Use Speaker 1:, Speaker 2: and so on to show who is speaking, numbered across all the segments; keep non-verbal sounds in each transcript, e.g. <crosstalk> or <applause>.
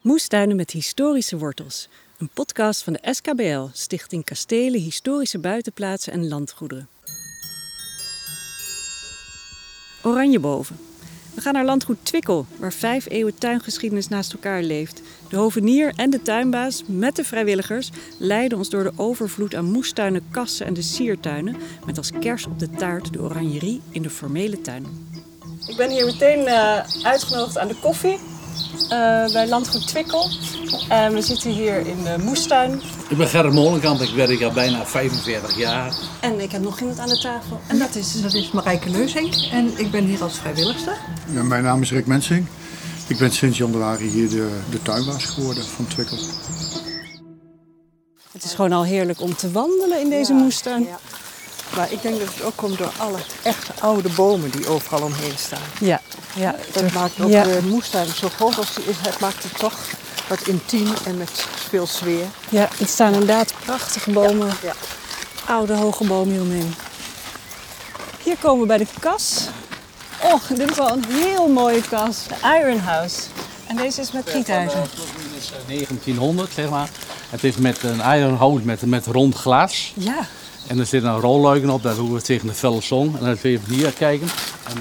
Speaker 1: Moestuinen met historische wortels. Een podcast van de SKBL, Stichting Kastelen, Historische Buitenplaatsen en Landgoederen. Oranjeboven. We gaan naar landgoed Twikkel, waar vijf eeuwen tuingeschiedenis naast elkaar leeft. De hovenier en de tuinbaas, met de vrijwilligers, leiden ons door de overvloed aan moestuinen, kassen en de siertuinen. Met als kers op de taart de oranjerie in de formele tuin. Ik ben hier meteen eh, uitgenodigd aan de koffie eh, bij Landgoed Twikkel. En we zitten hier in de moestuin.
Speaker 2: Ik ben Gerrit Molenkamp, ik werk al bijna 45 jaar.
Speaker 1: En ik heb nog iemand aan de tafel. En dat is.
Speaker 3: Dat is Marijke Leuzink en ik ben hier als vrijwilligster.
Speaker 4: Ja, mijn naam is Rick Mensing. Ik ben sinds januari hier de, de tuinbaas geworden van Twikkel.
Speaker 1: Het is gewoon al heerlijk om te wandelen in deze
Speaker 3: Ja,
Speaker 1: moestuin.
Speaker 3: ja. Maar ik denk dat het ook komt door alle echt oude bomen die overal omheen staan.
Speaker 1: Ja, ja.
Speaker 3: Dat maakt ook
Speaker 1: Ja.
Speaker 3: de moestuin zo groot als die is. Het maakt het toch wat intiem en met veel sfeer.
Speaker 1: Ja, er staan inderdaad prachtige bomen.
Speaker 3: Ja.
Speaker 1: Oude hoge bomen hieromheen. Hier komen we bij de kas. Och, dit is wel een heel mooie kas. De Iron House. En deze is met gietijzer.
Speaker 2: is 1900, zeg maar. Het is met een iron hout met, met rond glas.
Speaker 1: Ja,
Speaker 2: En er zit een rolluiken op, dat hoe het tegen de felle zon. En dan kun je hier kijken. En,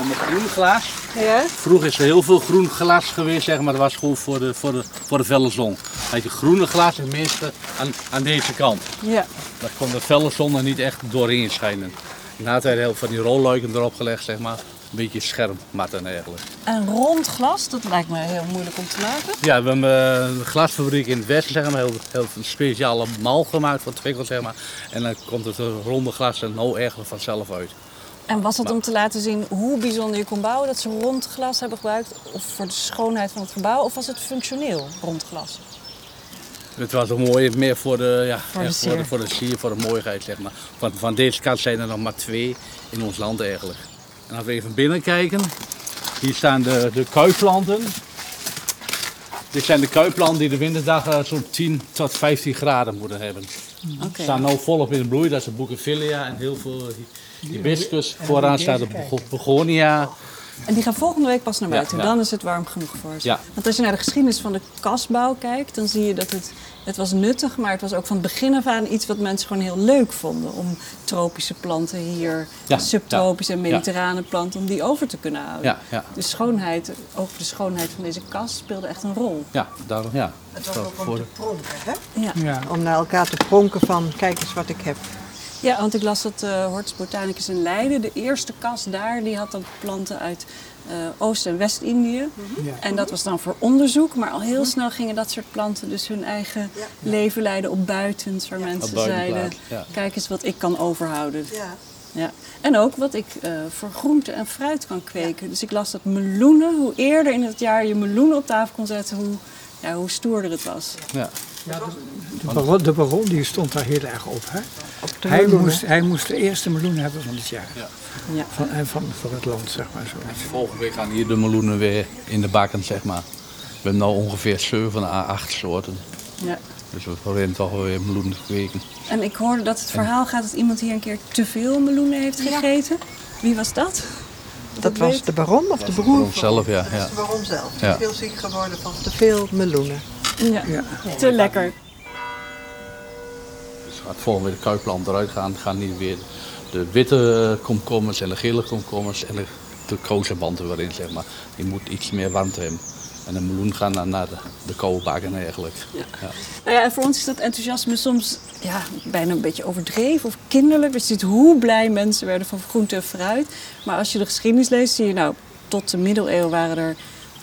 Speaker 2: en met groen glas.
Speaker 1: ja.
Speaker 2: Vroeger is er heel veel groen glas geweest, zeg maar. Dat was goed voor de, voor de, voor de felle zon. Had je groene glas, het minste aan, aan deze kant.
Speaker 1: ja.
Speaker 2: Daar kon de felle zon er niet echt doorheen schijnen. Na het heel van die rolluiken erop gelegd, zeg maar. Een beetje schermmatten eigenlijk.
Speaker 1: En rond glas, dat lijkt me heel moeilijk om te maken.
Speaker 2: Ja, we hebben eh, een glasfabriek in het westen, zeg maar, heel, heel een speciale mal gemaakt van twikkel, zeg maar. En dan komt het een ronde glas en nou eigenlijk vanzelf uit.
Speaker 1: En was
Speaker 2: Nou.
Speaker 1: het om te laten zien hoe bijzonder je kon bouwen dat ze rond glas hebben gebruikt? Of voor de schoonheid van het gebouw? Of was het functioneel rond glas?
Speaker 2: Het was een mooie, meer voor de, ja,
Speaker 1: de
Speaker 2: echt voor, de,
Speaker 1: sier.
Speaker 2: voor de sier, voor de mooiheid, zeg maar. Van, van deze kant zijn er nog maar twee in ons land eigenlijk. En als we even binnen kijken, hier staan de, de kuiplanten. Dit zijn de kuiplanten die de winterdag eh, zo'n 10 tot 15 graden moeten hebben.
Speaker 1: Oké.
Speaker 2: staan nu volop in de bloei. Dat is de boekenvilia en heel veel eh, hibiscus. Vooraan staat de bego- begonia.
Speaker 1: En die gaan volgende week pas naar
Speaker 2: Ja,
Speaker 1: buiten.
Speaker 2: ja.
Speaker 1: Dan is het warm genoeg voor ze.
Speaker 2: Ja.
Speaker 1: Want als je naar de geschiedenis van de kasbouw kijkt, dan zie je dat het, het was nuttig, maar het was ook van het begin af aan iets wat mensen gewoon heel leuk vonden. Om tropische planten hier,
Speaker 2: Ja,
Speaker 1: subtropische en
Speaker 2: ja, ja.
Speaker 1: mediterrane planten, om die over te kunnen houden.
Speaker 2: Ja, ja.
Speaker 1: De schoonheid, ook de schoonheid van deze kas speelde echt een rol.
Speaker 2: Ja, daarom ja. Voor de-
Speaker 3: pronken, hè?
Speaker 1: Ja.
Speaker 3: Om naar elkaar te pronken van kijk eens wat ik heb.
Speaker 1: Ja, want ik las dat eh Hortus Botanicus in Leiden, de eerste kas daar, die had dan planten uit eh, Oost- en West-Indië. En dat was dan voor onderzoek, maar al heel snel gingen dat soort planten dus hun eigen leven leiden op buitens, waar mensen
Speaker 2: Op
Speaker 1: zeiden,
Speaker 2: buitenplaats, ja.
Speaker 1: kijk eens wat ik kan overhouden.
Speaker 3: Ja.
Speaker 1: Ja. En ook wat ik eh, voor groente en fruit kan kweken. Dus ik las dat meloenen, hoe eerder in het jaar je meloenen op tafel kon zetten, hoe, ja, hoe stoerder het was.
Speaker 2: ja.
Speaker 5: De baron, de baron die stond daar heel erg op. Hè?
Speaker 3: de
Speaker 5: hij,
Speaker 3: meloen,
Speaker 5: moest, hij moest de eerste meloen hebben van het jaar.
Speaker 1: Ja.
Speaker 5: Van, en van, van het land, zeg maar. Zo.
Speaker 2: Volgende week gaan hier de meloenen weer in de bakken, zeg maar. We hebben nu ongeveer 7 à 8 soorten.
Speaker 1: Ja.
Speaker 2: Dus we proberen toch wel weer meloenen te kweken.
Speaker 1: En ik hoorde dat het verhaal gaat dat iemand hier een keer te veel meloenen heeft gegeten. Wie was dat?
Speaker 3: Dat was de baron of de broer?
Speaker 2: Voor zelf, ja. ja.
Speaker 3: baron zelf.
Speaker 2: Ja.
Speaker 3: Veel ziek geworden van te veel meloenen.
Speaker 1: Ja. Te lekker.
Speaker 2: Dus gaat volgende week de kuiplant eruit gaan. Gaan niet weer de witte komkommers en de gele komkommers en de, de kozenband er weer in, zeg maar. Die moet iets meer warmte hebben. En de meloen gaan dan naar de, de koude bakken eigenlijk. Ja.
Speaker 1: Nou ja, en voor ons is dat enthousiasme soms ja, bijna een beetje overdreven of kinderlijk. Dus je ziet hoe blij mensen werden van groente en fruit. Maar als je de geschiedenis leest, zie je nou, tot de middeleeuwen waren er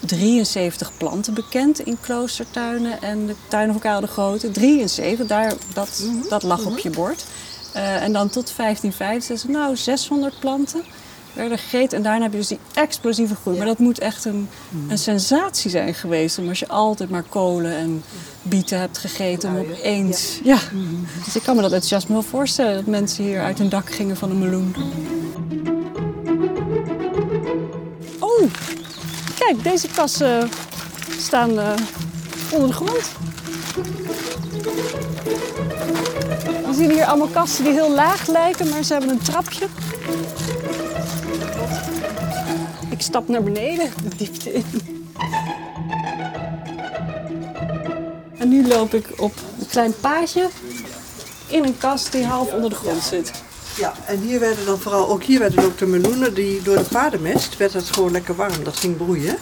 Speaker 1: 73 planten bekend in kloostertuinen en de tuinen van Karel de Grote. 73, daar, dat, dat lag op je bord. Eh, en dan tot 1550, nou 600 planten werden gegeten. En daarna heb je dus die explosieve groei. Maar dat moet echt een, een sensatie zijn geweest. Omdat je altijd maar kolen en bieten hebt gegeten. Om opeens... Ja. Dus ik kan me dat enthousiasme wel voorstellen. Dat mensen hier uit hun dak gingen van een meloen. Oh, kijk. Deze kassen staan eh, onder de grond. We zien hier allemaal kasten die heel laag lijken, maar ze hebben een trapje. <laughs> Ik stap naar beneden, de diepte in. En nu loop ik op een klein paadje in een kast die half onder de grond zit.
Speaker 3: Ja, en hier werden dan vooral, ook hier werden ook de meloenen, die door de paardenmest werd het gewoon lekker warm. Dat ging broeien.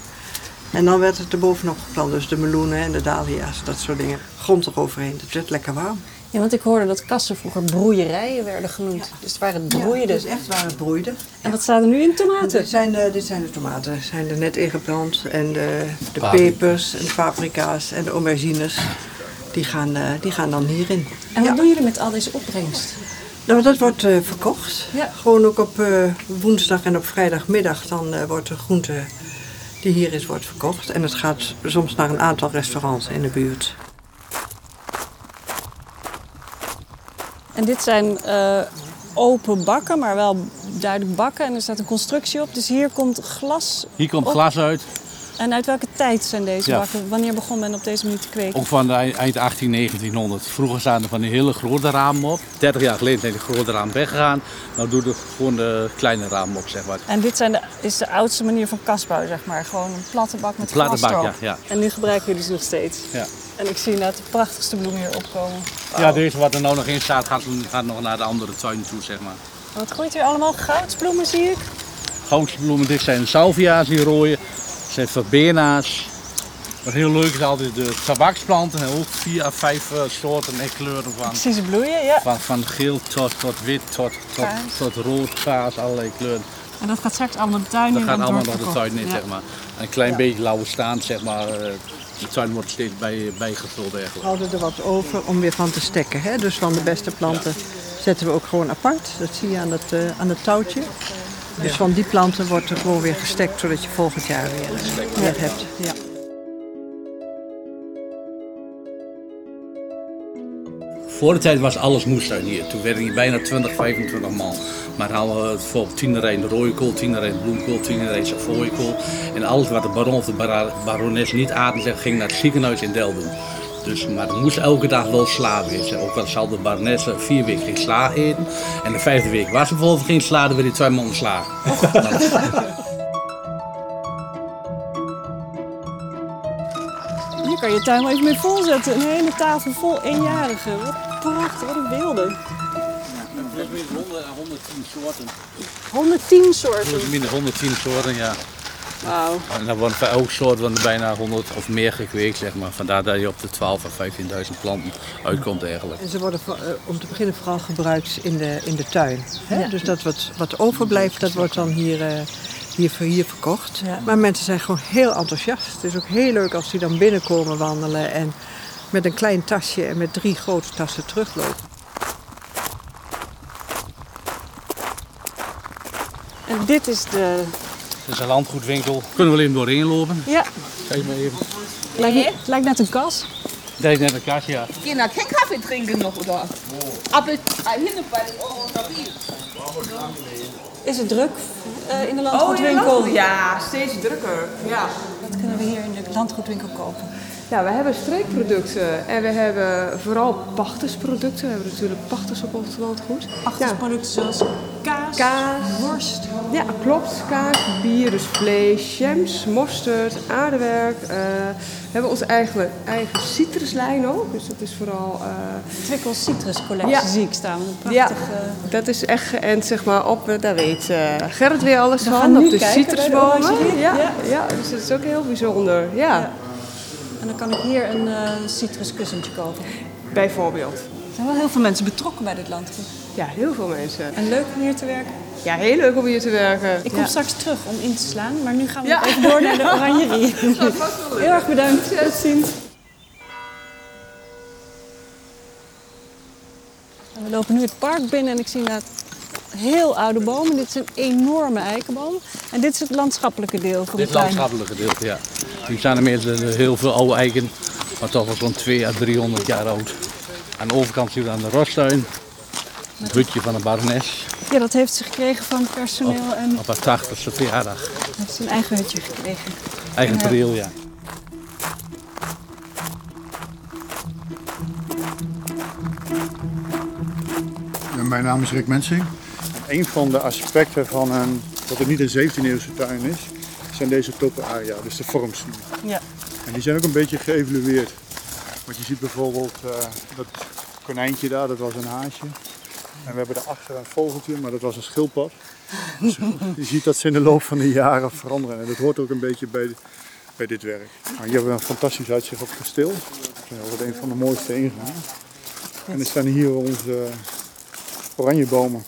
Speaker 3: En dan werd het er bovenop geplant, dus de meloenen en de dahlia's, dat soort dingen. Grond eroverheen, dat werd lekker warm.
Speaker 1: Ja, want ik hoorde dat kassen vroeger broeierijen werden genoemd. Dus waar het broeide.
Speaker 3: dus echt waar het broeide.
Speaker 1: En wat staat er nu in? Tomaten.
Speaker 3: Dit zijn, de, dit zijn de tomaten, Ze zijn er net ingeplant. En de, de
Speaker 2: Paprika.
Speaker 3: pepers en de paprika's en de aubergines, die gaan, eh, die gaan dan hierin.
Speaker 1: En wat
Speaker 3: Ja.
Speaker 1: doen jullie met al deze opbrengst?
Speaker 3: Nou, dat wordt eh, verkocht.
Speaker 1: Ja.
Speaker 3: Gewoon ook op eh, woensdag en op vrijdagmiddag dan eh, wordt de groente die hier is, wordt verkocht. En het gaat soms naar een aantal restaurants in de buurt.
Speaker 1: En dit zijn eh, open bakken, maar wel duidelijk bakken. En er staat een constructie op. Dus hier komt glas.
Speaker 2: Hier komt
Speaker 1: op.
Speaker 2: glas uit,
Speaker 1: En uit welke tijd zijn deze
Speaker 2: Ja.
Speaker 1: bakken? Wanneer begon men op deze manier te kweken?
Speaker 2: ook van de eind 18, 1900. Vroeger staan er van die hele grote ramen op. 30 jaar geleden zijn die grote ramen weggegaan. Nou doen er gewoon de kleine ramen op, zeg maar.
Speaker 1: En dit zijn de, is de oudste manier van kastbouw, zeg maar. Gewoon een platte bak met
Speaker 2: Een platte
Speaker 1: glas
Speaker 2: bak,
Speaker 1: erop.
Speaker 2: ja,
Speaker 1: En nu gebruiken jullie ze nog steeds.
Speaker 2: Ja.
Speaker 1: En ik zie inderdaad de prachtigste bloemen hier opkomen.
Speaker 2: ja, deze wat er nou nog in staat gaat, gaat nog naar de andere tuin toe, zeg maar.
Speaker 1: Wat groeit hier allemaal? Goudsbloemen zie ik.
Speaker 2: grootste bloemen. Dit zijn salvia's die rooien. Dit zijn verbena's. Wat heel leuk is altijd de tabaksplanten. En ook vier à vijf eh, soorten en kleuren van.
Speaker 1: Ik zie ze bloeien, ja.
Speaker 2: Van, van geel tot, tot wit, tot, tot,
Speaker 1: Paars.
Speaker 2: tot rood, paars, allerlei kleuren.
Speaker 1: En dat gaat straks allemaal de tuin
Speaker 2: Dat
Speaker 1: in.
Speaker 2: gaat
Speaker 1: en
Speaker 2: allemaal nog
Speaker 1: wordt
Speaker 2: de
Speaker 1: verkocht.
Speaker 2: tuin in,
Speaker 1: Ja.
Speaker 2: zeg maar. En een klein beetje lauwe staan, zeg maar. eh, De tuin wordt steeds bij, bijgevuld
Speaker 3: We
Speaker 2: eigenlijk.
Speaker 3: houden er wat over om weer van te stekken. Hè? Dus van de beste planten zetten we ook gewoon apart. Dat zie je aan het, eh, aan het touwtje. Dus van die planten wordt er gewoon weer gestekt, zodat je volgend jaar weer eh, weer hebt. Ja.
Speaker 2: Voor de tijd was alles moestuin hier. Toen werden hier bijna 20, 25 man. Maar dan hadden we bijvoorbeeld 10 rijn rooikool, 10 rijn bloemkool, 10 rijn savooikool. En alles wat de baron of de bara- barones niet aten, zeg, ging naar het ziekenhuis in Delden. Dus, maar er moest elke dag wel sla weer zijn. Ook al zal de barones eh, vier weken geen sla eten. En de vijfde week was er bijvoorbeeld geen sla, dan werd die twee man ontslagen.
Speaker 1: Hier kan je tuin wel even mee volzetten. Een hele tafel vol eenjarigen. Wat prachtig, wat een beelden.
Speaker 2: 110 eh, soorten.
Speaker 1: 110 soorten.
Speaker 2: Minder 110 soorten, ja.
Speaker 1: Wauw.
Speaker 2: En dan worden bij elk soort worden bijna 100 of meer gekweekt, zeg maar. Vandaar dat je op de 12.000 à 15.000 planten uitkomt eigenlijk.
Speaker 3: En ze worden voor- eh, om te beginnen vooral gebruikt in de, in de tuin. Hè? Dus dat wat, wat overblijft, dat wordt dan hier, eh, hier, ver- hier verkocht.
Speaker 1: Ja.
Speaker 3: Maar mensen zijn gewoon heel enthousiast. Het is ook heel leuk als die dan binnenkomen wandelen en met een klein tasje en met drie grote tassen teruglopen.
Speaker 1: En dit is de...
Speaker 2: Dit is een landgoedwinkel. Kunnen we er even doorheen lopen?
Speaker 1: Ja,
Speaker 2: Geef me even.
Speaker 1: lijkt, lijkt net een kas.
Speaker 2: Deze net een kastje, ja.
Speaker 6: Gehen da keinen Kaffee trinken noch, oder? Aber hin bei den Euro oder wie?
Speaker 1: Is het druk eh, in de landgoedwinkel?
Speaker 6: Ja, steeds drukker. Ja.
Speaker 1: Wat kunnen we hier in de landgoedwinkel kopen?
Speaker 7: Ja, we hebben streekproducten en we hebben vooral pachtersproducten. We hebben natuurlijk pachters op ons landgoed.
Speaker 1: Achtersproducten zoals kaas,
Speaker 7: Kaas.
Speaker 1: worst.
Speaker 7: Ja, klopt. Kaas, bier, dus vlees, jams, mosterd, aardewerk. Eh, we hebben onze eigen, eigen citruslijn ook, dus dat is vooral... eh,
Speaker 1: Twikkel citrus collectie
Speaker 7: Ja.
Speaker 1: zie ik staan. Wat een
Speaker 7: ja,
Speaker 1: prachtig... eh,
Speaker 7: dat is echt geënt zeg maar op, eh, daar weet eh, Gerrit weer alles
Speaker 1: We gaan
Speaker 7: van,
Speaker 1: nu
Speaker 7: op de
Speaker 1: kijken bij de
Speaker 7: citrusbomen.
Speaker 1: orangerie.
Speaker 7: Ja,
Speaker 1: Ja.
Speaker 7: ja. dus dat is ook heel bijzonder, ja,
Speaker 1: En dan kan ik hier een eh citruskussentje kopen.
Speaker 7: bijvoorbeeld.
Speaker 1: Er zijn wel heel veel mensen betrokken bij dit landgoed.
Speaker 7: Ja, heel veel mensen.
Speaker 1: En leuk om hier te werken.
Speaker 7: Ja, heel leuk om hier te werken.
Speaker 1: Ik kom straks terug om in te slaan, maar nu gaan we
Speaker 7: Ja.
Speaker 1: even door
Speaker 7: <laughs>
Speaker 1: naar de oranjerie. Heel erg bedankt. Tot ziens. En We lopen nu het park binnen en ik zie inderdaad heel oude bomen. Dit zijn enorme eikenbomen. En dit is het landschappelijke deel van
Speaker 2: Dit
Speaker 1: de tuin.
Speaker 2: landschappelijke gedeelte, ja. Hier staan er meestal heel veel oude eiken, maar toch wel zo'n 200 à 300 jaar oud. Aan de overkant zien we aan de rostuin. Het hutje van de barones
Speaker 1: Ja, dat heeft ze gekregen van personeel en
Speaker 2: op haar 80ste verjaardag.
Speaker 1: heeft ze een eigen hutje gekregen.
Speaker 2: Eigen pereel, ja.
Speaker 4: Ja, Mijn naam is Rick Mensing. Een van de aspecten van een, dat het niet een 17e eeuwse tuin is, zijn deze topoaria, dus de vormsnoer.
Speaker 1: Ja.
Speaker 4: En die zijn ook een beetje geëvalueerd. Want je ziet bijvoorbeeld eh, dat konijntje daar, dat was een haasje. En we hebben daarachter een vogeltje, maar dat was een schildpad. Dus <laughs> je ziet dat ze in de loop van de jaren veranderen. En dat hoort ook een beetje bij, bij dit werk. Maar hier hebben we een fantastisch uitzicht op het kasteel. Dat is altijd een van de mooiste ingangen. En er staan hier onze eh, oranjebomen.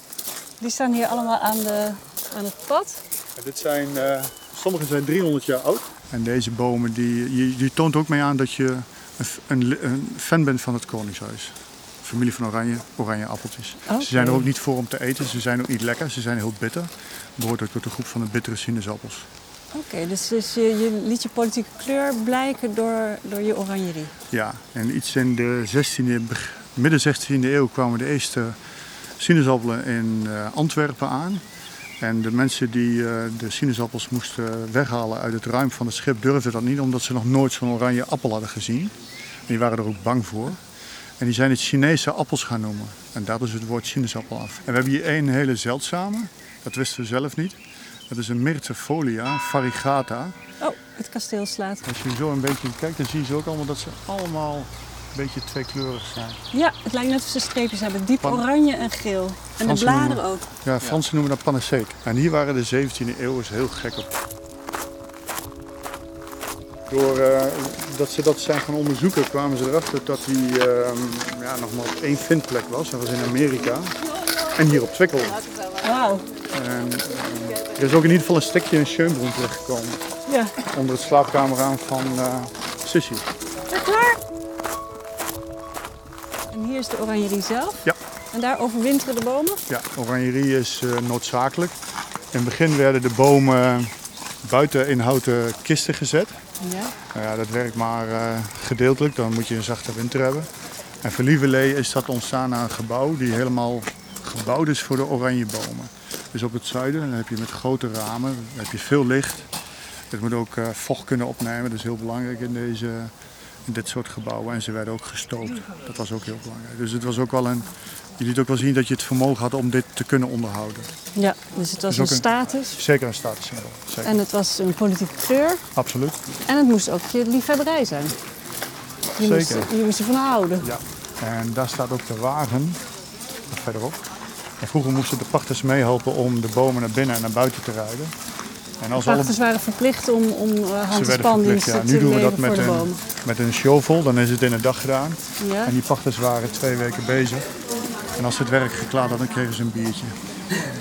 Speaker 1: Die staan hier allemaal aan, de, aan het pad.
Speaker 4: En dit zijn, eh, sommige zijn 300 jaar oud. En deze bomen, die, je- die toont ook mee aan dat je een, f- een, li- een fan bent van het Koningshuis. Familie van Oranje, oranje appeltjes.
Speaker 1: Oké.
Speaker 4: Ze zijn er ook niet voor om te eten. Ze zijn ook niet lekker. Ze zijn heel bitter. Behoort ook tot de groep van de bittere sinaasappels.
Speaker 1: Oké, dus, dus je, je liet je politieke kleur blijken door, door je oranjerie.
Speaker 4: Ja, en iets in de 16e, beg- midden 16e eeuw kwamen de eerste sinaasappelen in eh, Antwerpen aan. En de mensen die eh, de sinaasappels moesten weghalen uit het ruim van het schip durfden dat niet, omdat ze nog nooit zo'n oranje appel hadden gezien. En die waren er ook bang voor. En die zijn het Chinese appels gaan noemen. En daar is het woord sinaasappel af. En we hebben hier één hele zeldzame, dat wisten we zelf niet. Dat is een Myrtefolia variegata.
Speaker 1: Oh, het kasteel slaat.
Speaker 4: Als je zo een beetje kijkt, dan zie je ze ook allemaal dat ze allemaal een beetje tweekleurig zijn.
Speaker 1: Ja, het lijkt net of ze streepjes hebben. Diep
Speaker 4: Pan-
Speaker 1: oranje en geel. En de
Speaker 4: Franse
Speaker 1: bladeren
Speaker 4: bloemen.
Speaker 1: ook.
Speaker 4: Ja, Fransen noemen dat panaceek. En hier waren de 17e eeuwers heel gek op. Door eh, dat ze dat zijn gaan onderzoeken, kwamen ze erachter dat die eh, ja, nog maar op één vindplek was. Dat was in Amerika. En hier op Twickel.
Speaker 1: Wauw.
Speaker 4: En, eh, er is ook in ieder geval een stukje in Schönbrunn terechtgekomen.
Speaker 1: Ja.
Speaker 4: Onder het slaapkamer aan van eh Sissy.
Speaker 1: En hier is de oranjerie zelf.
Speaker 4: Ja.
Speaker 1: En daar overwinteren de bomen.
Speaker 4: Ja, oranjerie is eh, noodzakelijk. In het begin werden de bomen buiten in houten kisten gezet.
Speaker 1: Ja.
Speaker 4: Nou ja, dat werkt maar eh, gedeeltelijk, dan moet je een zachte winter hebben. En voor Lieverlee is dat ontstaan aan een gebouw die helemaal gebouwd is voor de oranjebomen. Dus op het zuiden dan heb je met grote ramen, dan heb je veel licht. Het moet ook eh, vocht kunnen opnemen, dat is heel belangrijk in, deze, in dit soort gebouwen. En ze werden ook gestookt, dat was ook heel belangrijk. Dus het was ook wel een, je liet ook wel zien dat je het vermogen had om dit te kunnen onderhouden.
Speaker 1: ja, dus het was
Speaker 4: ook
Speaker 1: een
Speaker 4: een-
Speaker 1: status.
Speaker 4: Zeker een statussymbool, zeker.
Speaker 1: En het was een politieke kleur.
Speaker 4: Absoluut.
Speaker 1: En het moest ook je liefhebberij zijn. Je moest,
Speaker 4: Zeker.
Speaker 1: je moest ervan houden.
Speaker 4: Ja, en daar staat ook de wagen verderop. En vroeger moesten de pachters meehelpen om de bomen naar binnen en naar buiten te rijden. En als
Speaker 1: Pachters waren verplicht om, om eh, hand- en
Speaker 4: ze werden verplicht,
Speaker 1: spandiensten
Speaker 4: ja.
Speaker 1: te
Speaker 4: Nu doen we dat
Speaker 1: leveren voor
Speaker 4: met
Speaker 1: de
Speaker 4: een,
Speaker 1: bomen.
Speaker 4: met een shovel, dan is het in een dag gedaan.
Speaker 1: Ja.
Speaker 4: En die pachters waren twee weken bezig. En als ze het werk geklaard hadden, kregen ze een biertje.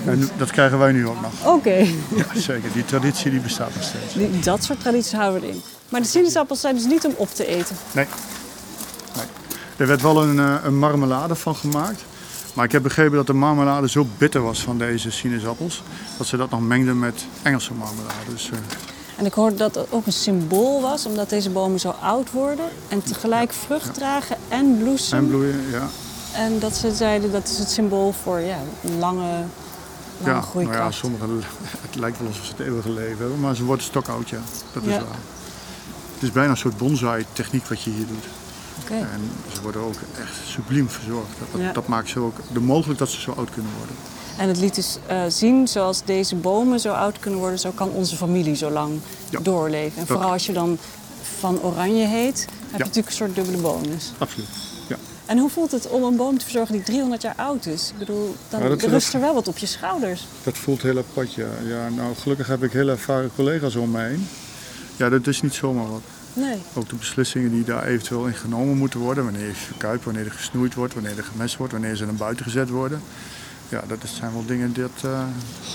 Speaker 4: En dat krijgen wij nu ook nog.
Speaker 1: Oké,
Speaker 4: Ja, zeker, die traditie die bestaat nog steeds.
Speaker 1: Die- dat soort tradities houden we erin. Maar de sinaasappels zijn dus niet om op te eten.
Speaker 4: Nee. nee. Er werd wel een, eh, een marmelade van gemaakt. Maar ik heb begrepen dat de marmelade zo bitter was van deze sinaasappels. dat ze dat nog mengden met Engelse marmelade. Dus, eh,
Speaker 1: En ik hoorde dat dat ook een symbool was, omdat deze bomen zo oud worden en tegelijk vrucht dragen en bloesem.
Speaker 4: en bloeien, ja.
Speaker 1: En dat ze zeiden dat is het symbool voor ja, lange, lange
Speaker 4: ja. Nou ja,
Speaker 1: groeikracht.
Speaker 4: sommigen, <laughs> het lijkt wel alsof ze het eeuwige leven hebben. maar ze worden stokoud, ja. Dat is
Speaker 1: Ja.
Speaker 4: waar. Het is bijna een soort bonsai-techniek wat je hier doet.
Speaker 1: Oké.
Speaker 4: En ze worden ook echt subliem verzorgd. Dat, dat,
Speaker 1: Ja.
Speaker 4: dat maakt ze ook de mogelijk dat ze zo oud kunnen worden.
Speaker 1: En het liet dus eh, zien, zoals deze bomen zo oud kunnen worden, zo kan onze familie zo lang
Speaker 4: Ja.
Speaker 1: doorleven. En
Speaker 4: Dat-
Speaker 1: vooral als je dan van oranje heet, heb je
Speaker 4: Ja.
Speaker 1: natuurlijk een soort dubbele bonus.
Speaker 4: Absoluut. Ja.
Speaker 1: En hoe voelt het om een boom te verzorgen die 300 jaar oud is? Ik bedoel, dan
Speaker 4: Nou, dat-
Speaker 1: rust
Speaker 4: dat-
Speaker 1: er wel wat op je schouders.
Speaker 4: Dat voelt heel apart, ja. ja nou, gelukkig heb ik heel ervaren collega's om me heen. Ja, dat is niet zomaar wat.
Speaker 1: Nee.
Speaker 4: Ook de beslissingen die daar eventueel in genomen moeten worden. Wanneer je verkuipt, wanneer er gesnoeid wordt, wanneer er gemest wordt, wanneer ze naar buiten gezet worden. Ja, dat is- zijn wel dingen, dat, eh,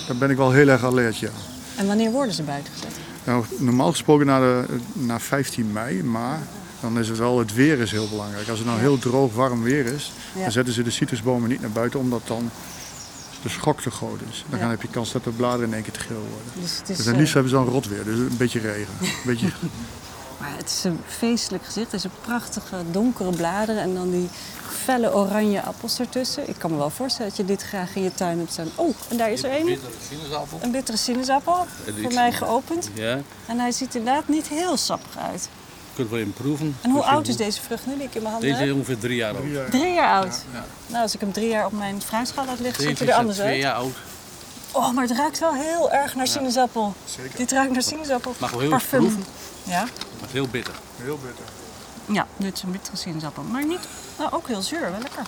Speaker 4: daar ben ik wel heel erg alert, ja.
Speaker 1: En wanneer worden ze buiten gezet?
Speaker 4: Nou, normaal gesproken na, de, na 15 mei, maar dan is het wel, het weer is heel belangrijk. Als het nou heel droog, warm weer is,
Speaker 1: Ja.
Speaker 4: dan zetten ze de citrusbomen niet naar buiten, omdat dan de schok te groot is. Dan
Speaker 1: Ja.
Speaker 4: heb je kans dat de bladeren in één keer te geel worden.
Speaker 1: Dus het is,
Speaker 4: Dus het
Speaker 1: eh,
Speaker 4: liefst hebben ze dan rot weer, dus een beetje
Speaker 1: <laughs>
Speaker 4: regen. Een beetje,
Speaker 1: maar het is een feestelijk gezicht. Deze prachtige donkere bladeren en dan die felle oranje appels ertussen. Ik kan me wel voorstellen dat je dit graag in je tuin hebt staan. Oh, en daar is er een.
Speaker 2: Bittere sinaasappel.
Speaker 1: Een bittere sinaasappel,
Speaker 2: En
Speaker 1: voor
Speaker 2: iets-
Speaker 1: mij geopend.
Speaker 2: Ja, je
Speaker 1: En hij ziet inderdaad niet heel sappig uit.
Speaker 2: kunt wel in proeven.
Speaker 1: En hoe
Speaker 2: Dus je
Speaker 1: oud is
Speaker 2: moet-
Speaker 1: deze vrucht nu die ik in mijn handen
Speaker 2: Deze is
Speaker 1: heb?
Speaker 2: ongeveer drie jaar oud.
Speaker 1: Drie jaar oud. Nou, als ik hem drie jaar op mijn fruitschaal laat liggen, ziet
Speaker 2: Deze
Speaker 1: hij er
Speaker 2: is al
Speaker 1: anders
Speaker 2: twee
Speaker 1: uit.
Speaker 2: jaar oud.
Speaker 1: Oh, maar het ruikt wel heel erg naar sinaasappel. Dit ruikt naar sinaasappel.
Speaker 2: Mag wel heel
Speaker 1: Parfum.
Speaker 2: proeven.
Speaker 1: Ja.
Speaker 2: Maar heel bitter.
Speaker 4: heel bitter.
Speaker 1: Ja, dit is een bittere sinaasappel. Maar niet, nou ook heel zuur, wel lekker.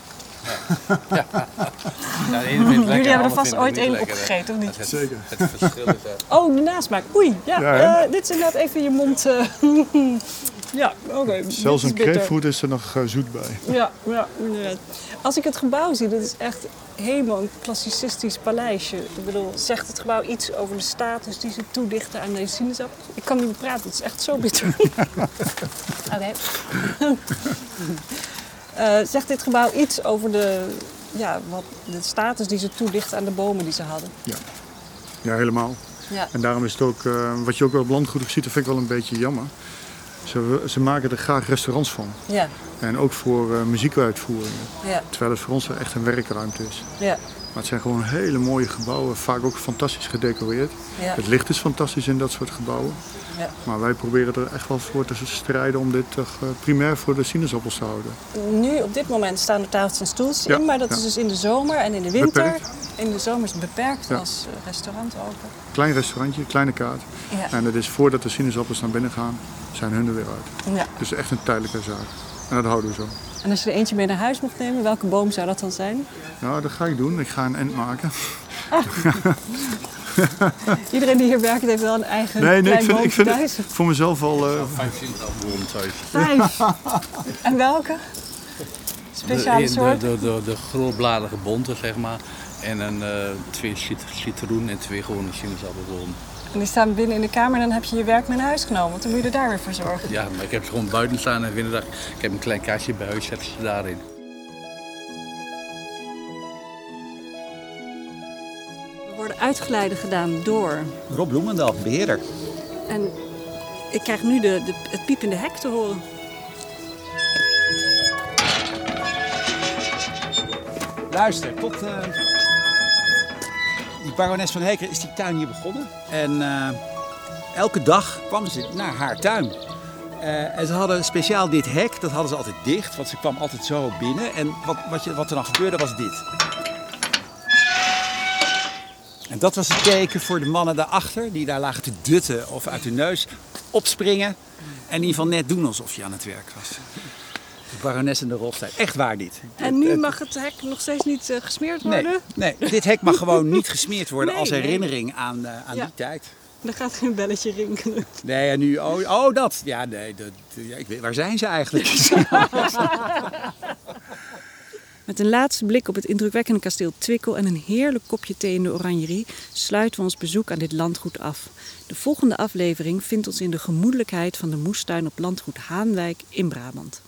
Speaker 2: Ja,
Speaker 1: <laughs>
Speaker 2: de ene vindt het lekker,
Speaker 1: Jullie
Speaker 2: de
Speaker 1: hebben
Speaker 2: ander
Speaker 1: er vast
Speaker 2: vindt het
Speaker 1: ooit
Speaker 2: niet
Speaker 1: één
Speaker 2: lekker, hè.
Speaker 1: opgegeten, of niet?
Speaker 2: Het-
Speaker 4: Zeker.
Speaker 2: Het verschil is echt.
Speaker 1: Oh, de nasmaak. Oei, ja.
Speaker 4: Ja, hè?
Speaker 1: eh, dit is inderdaad even je mond. eh, <laughs> ja, oké. dit
Speaker 4: Zelfs
Speaker 1: is
Speaker 4: een
Speaker 1: bitter.
Speaker 4: grapefruit is er nog eh, zoet bij.
Speaker 1: Ja, ja, inderdaad. Als ik het gebouw zie, dat is echt helemaal een klassicistisch paleisje. Ik bedoel, zegt het gebouw iets over de status die ze toedichten aan deze sinaasappels? Ik kan niet meer praten, het is echt zo
Speaker 4: <laughs>
Speaker 1: bitter. Oké. <laughs> Eh, zegt dit gebouw iets over de, ja, wat, de status die ze toedichten aan de bomen die ze hadden?
Speaker 4: Ja. ja, helemaal.
Speaker 1: Ja.
Speaker 4: En daarom is het ook, eh, wat je ook wel op landgoed ziet, dat vind ik wel een beetje jammer. Ze, ze maken er graag restaurants van.
Speaker 1: Ja,
Speaker 4: En ook voor eh, muziekuitvoeringen.
Speaker 1: ja,
Speaker 4: Terwijl het voor ons echt een werkruimte is.
Speaker 1: ja.
Speaker 4: Maar het zijn gewoon hele mooie gebouwen, vaak ook fantastisch gedecoreerd.
Speaker 1: Ja.
Speaker 4: Het licht is fantastisch in dat soort gebouwen.
Speaker 1: Ja.
Speaker 4: Maar wij proberen er echt wel voor te strijden om dit toch eh, primair voor de sinaasappels te houden.
Speaker 1: Nu op dit moment staan er tafeltjes en stoeltjes
Speaker 4: Ja,
Speaker 1: in, maar dat
Speaker 4: ja.
Speaker 1: is dus in de zomer en in de winter.
Speaker 4: Beperkt.
Speaker 1: In de zomer is het beperkt
Speaker 4: Ja.
Speaker 1: als eh, restaurant open.
Speaker 4: Klein restaurantje, kleine kaart.
Speaker 1: Ja.
Speaker 4: En het is voordat de sinaasappels naar binnen gaan, zijn hun er weer uit.
Speaker 1: Ja.
Speaker 4: Dus echt een tijdelijke zaak. En dat houden we zo.
Speaker 1: En als je er eentje mee naar huis mocht nemen, welke boom zou dat dan zijn?
Speaker 4: Nou, dat ga ik doen. Ik ga een end maken.
Speaker 1: Iedereen die hier werkt heeft wel een eigen
Speaker 4: Nee, nee,
Speaker 1: klein
Speaker 4: ik vind, ik
Speaker 1: boompje
Speaker 4: vind
Speaker 1: thuis.
Speaker 4: het voor mezelf al... eh,
Speaker 2: Vijf sinaasappelbomen thuis.
Speaker 4: <laughs>
Speaker 1: Vijf. en welke? Speciale
Speaker 2: de,
Speaker 1: soort?
Speaker 2: De, de, de, de grootbladige bonte, zeg maar. En een, eh, twee cit- citroen en twee gewone sinaasappelbomen.
Speaker 1: En die staan binnen in de kamer en dan heb je je werk mee naar huis genomen. Want dan moet je er daar weer voor zorgen.
Speaker 2: Ja, maar ik heb ze gewoon buiten staan en binnendag. Ik heb een klein kastje bij huis, zet ze daarin.
Speaker 1: We worden uitgeleiden gedaan door.
Speaker 8: Rob Bloemendaal, beheerder.
Speaker 1: En ik krijg nu de, de, het piepende hek te horen.
Speaker 8: Luister, tot... eh, Die barones van Heker is die tuin hier begonnen. En eh, elke dag kwam ze naar haar tuin. Eh, en ze hadden speciaal dit hek, dat hadden ze altijd dicht. Want ze kwam altijd zo binnen. En wat, wat, je, wat er dan gebeurde was dit. En dat was het teken voor de mannen daarachter, die daar lagen te dutten of uit hun neus opspringen. En in ieder geval net doen alsof je aan het werk was. De barones en de rolstijd. Echt waar dit.
Speaker 1: En nu mag het hek nog steeds niet eh, gesmeerd worden.
Speaker 8: Nee, nee, dit hek mag gewoon niet gesmeerd worden
Speaker 1: Nee,
Speaker 8: als
Speaker 1: nee.
Speaker 8: herinnering aan, eh, aan
Speaker 1: Ja.
Speaker 8: die tijd.
Speaker 1: Er gaat geen belletje rinkelen.
Speaker 8: Nee, en nu, oh, oh dat. Ja, nee, dat, ja, ik weet, waar zijn ze
Speaker 1: <laughs>
Speaker 8: eigenlijk?
Speaker 1: Met een laatste blik op het indrukwekkende kasteel Twikkel en een heerlijk kopje thee in de oranjerie sluiten we ons bezoek aan dit landgoed af. De volgende aflevering vindt ons in de gemoedelijkheid van de moestuin op landgoed Haanwijk in Brabant.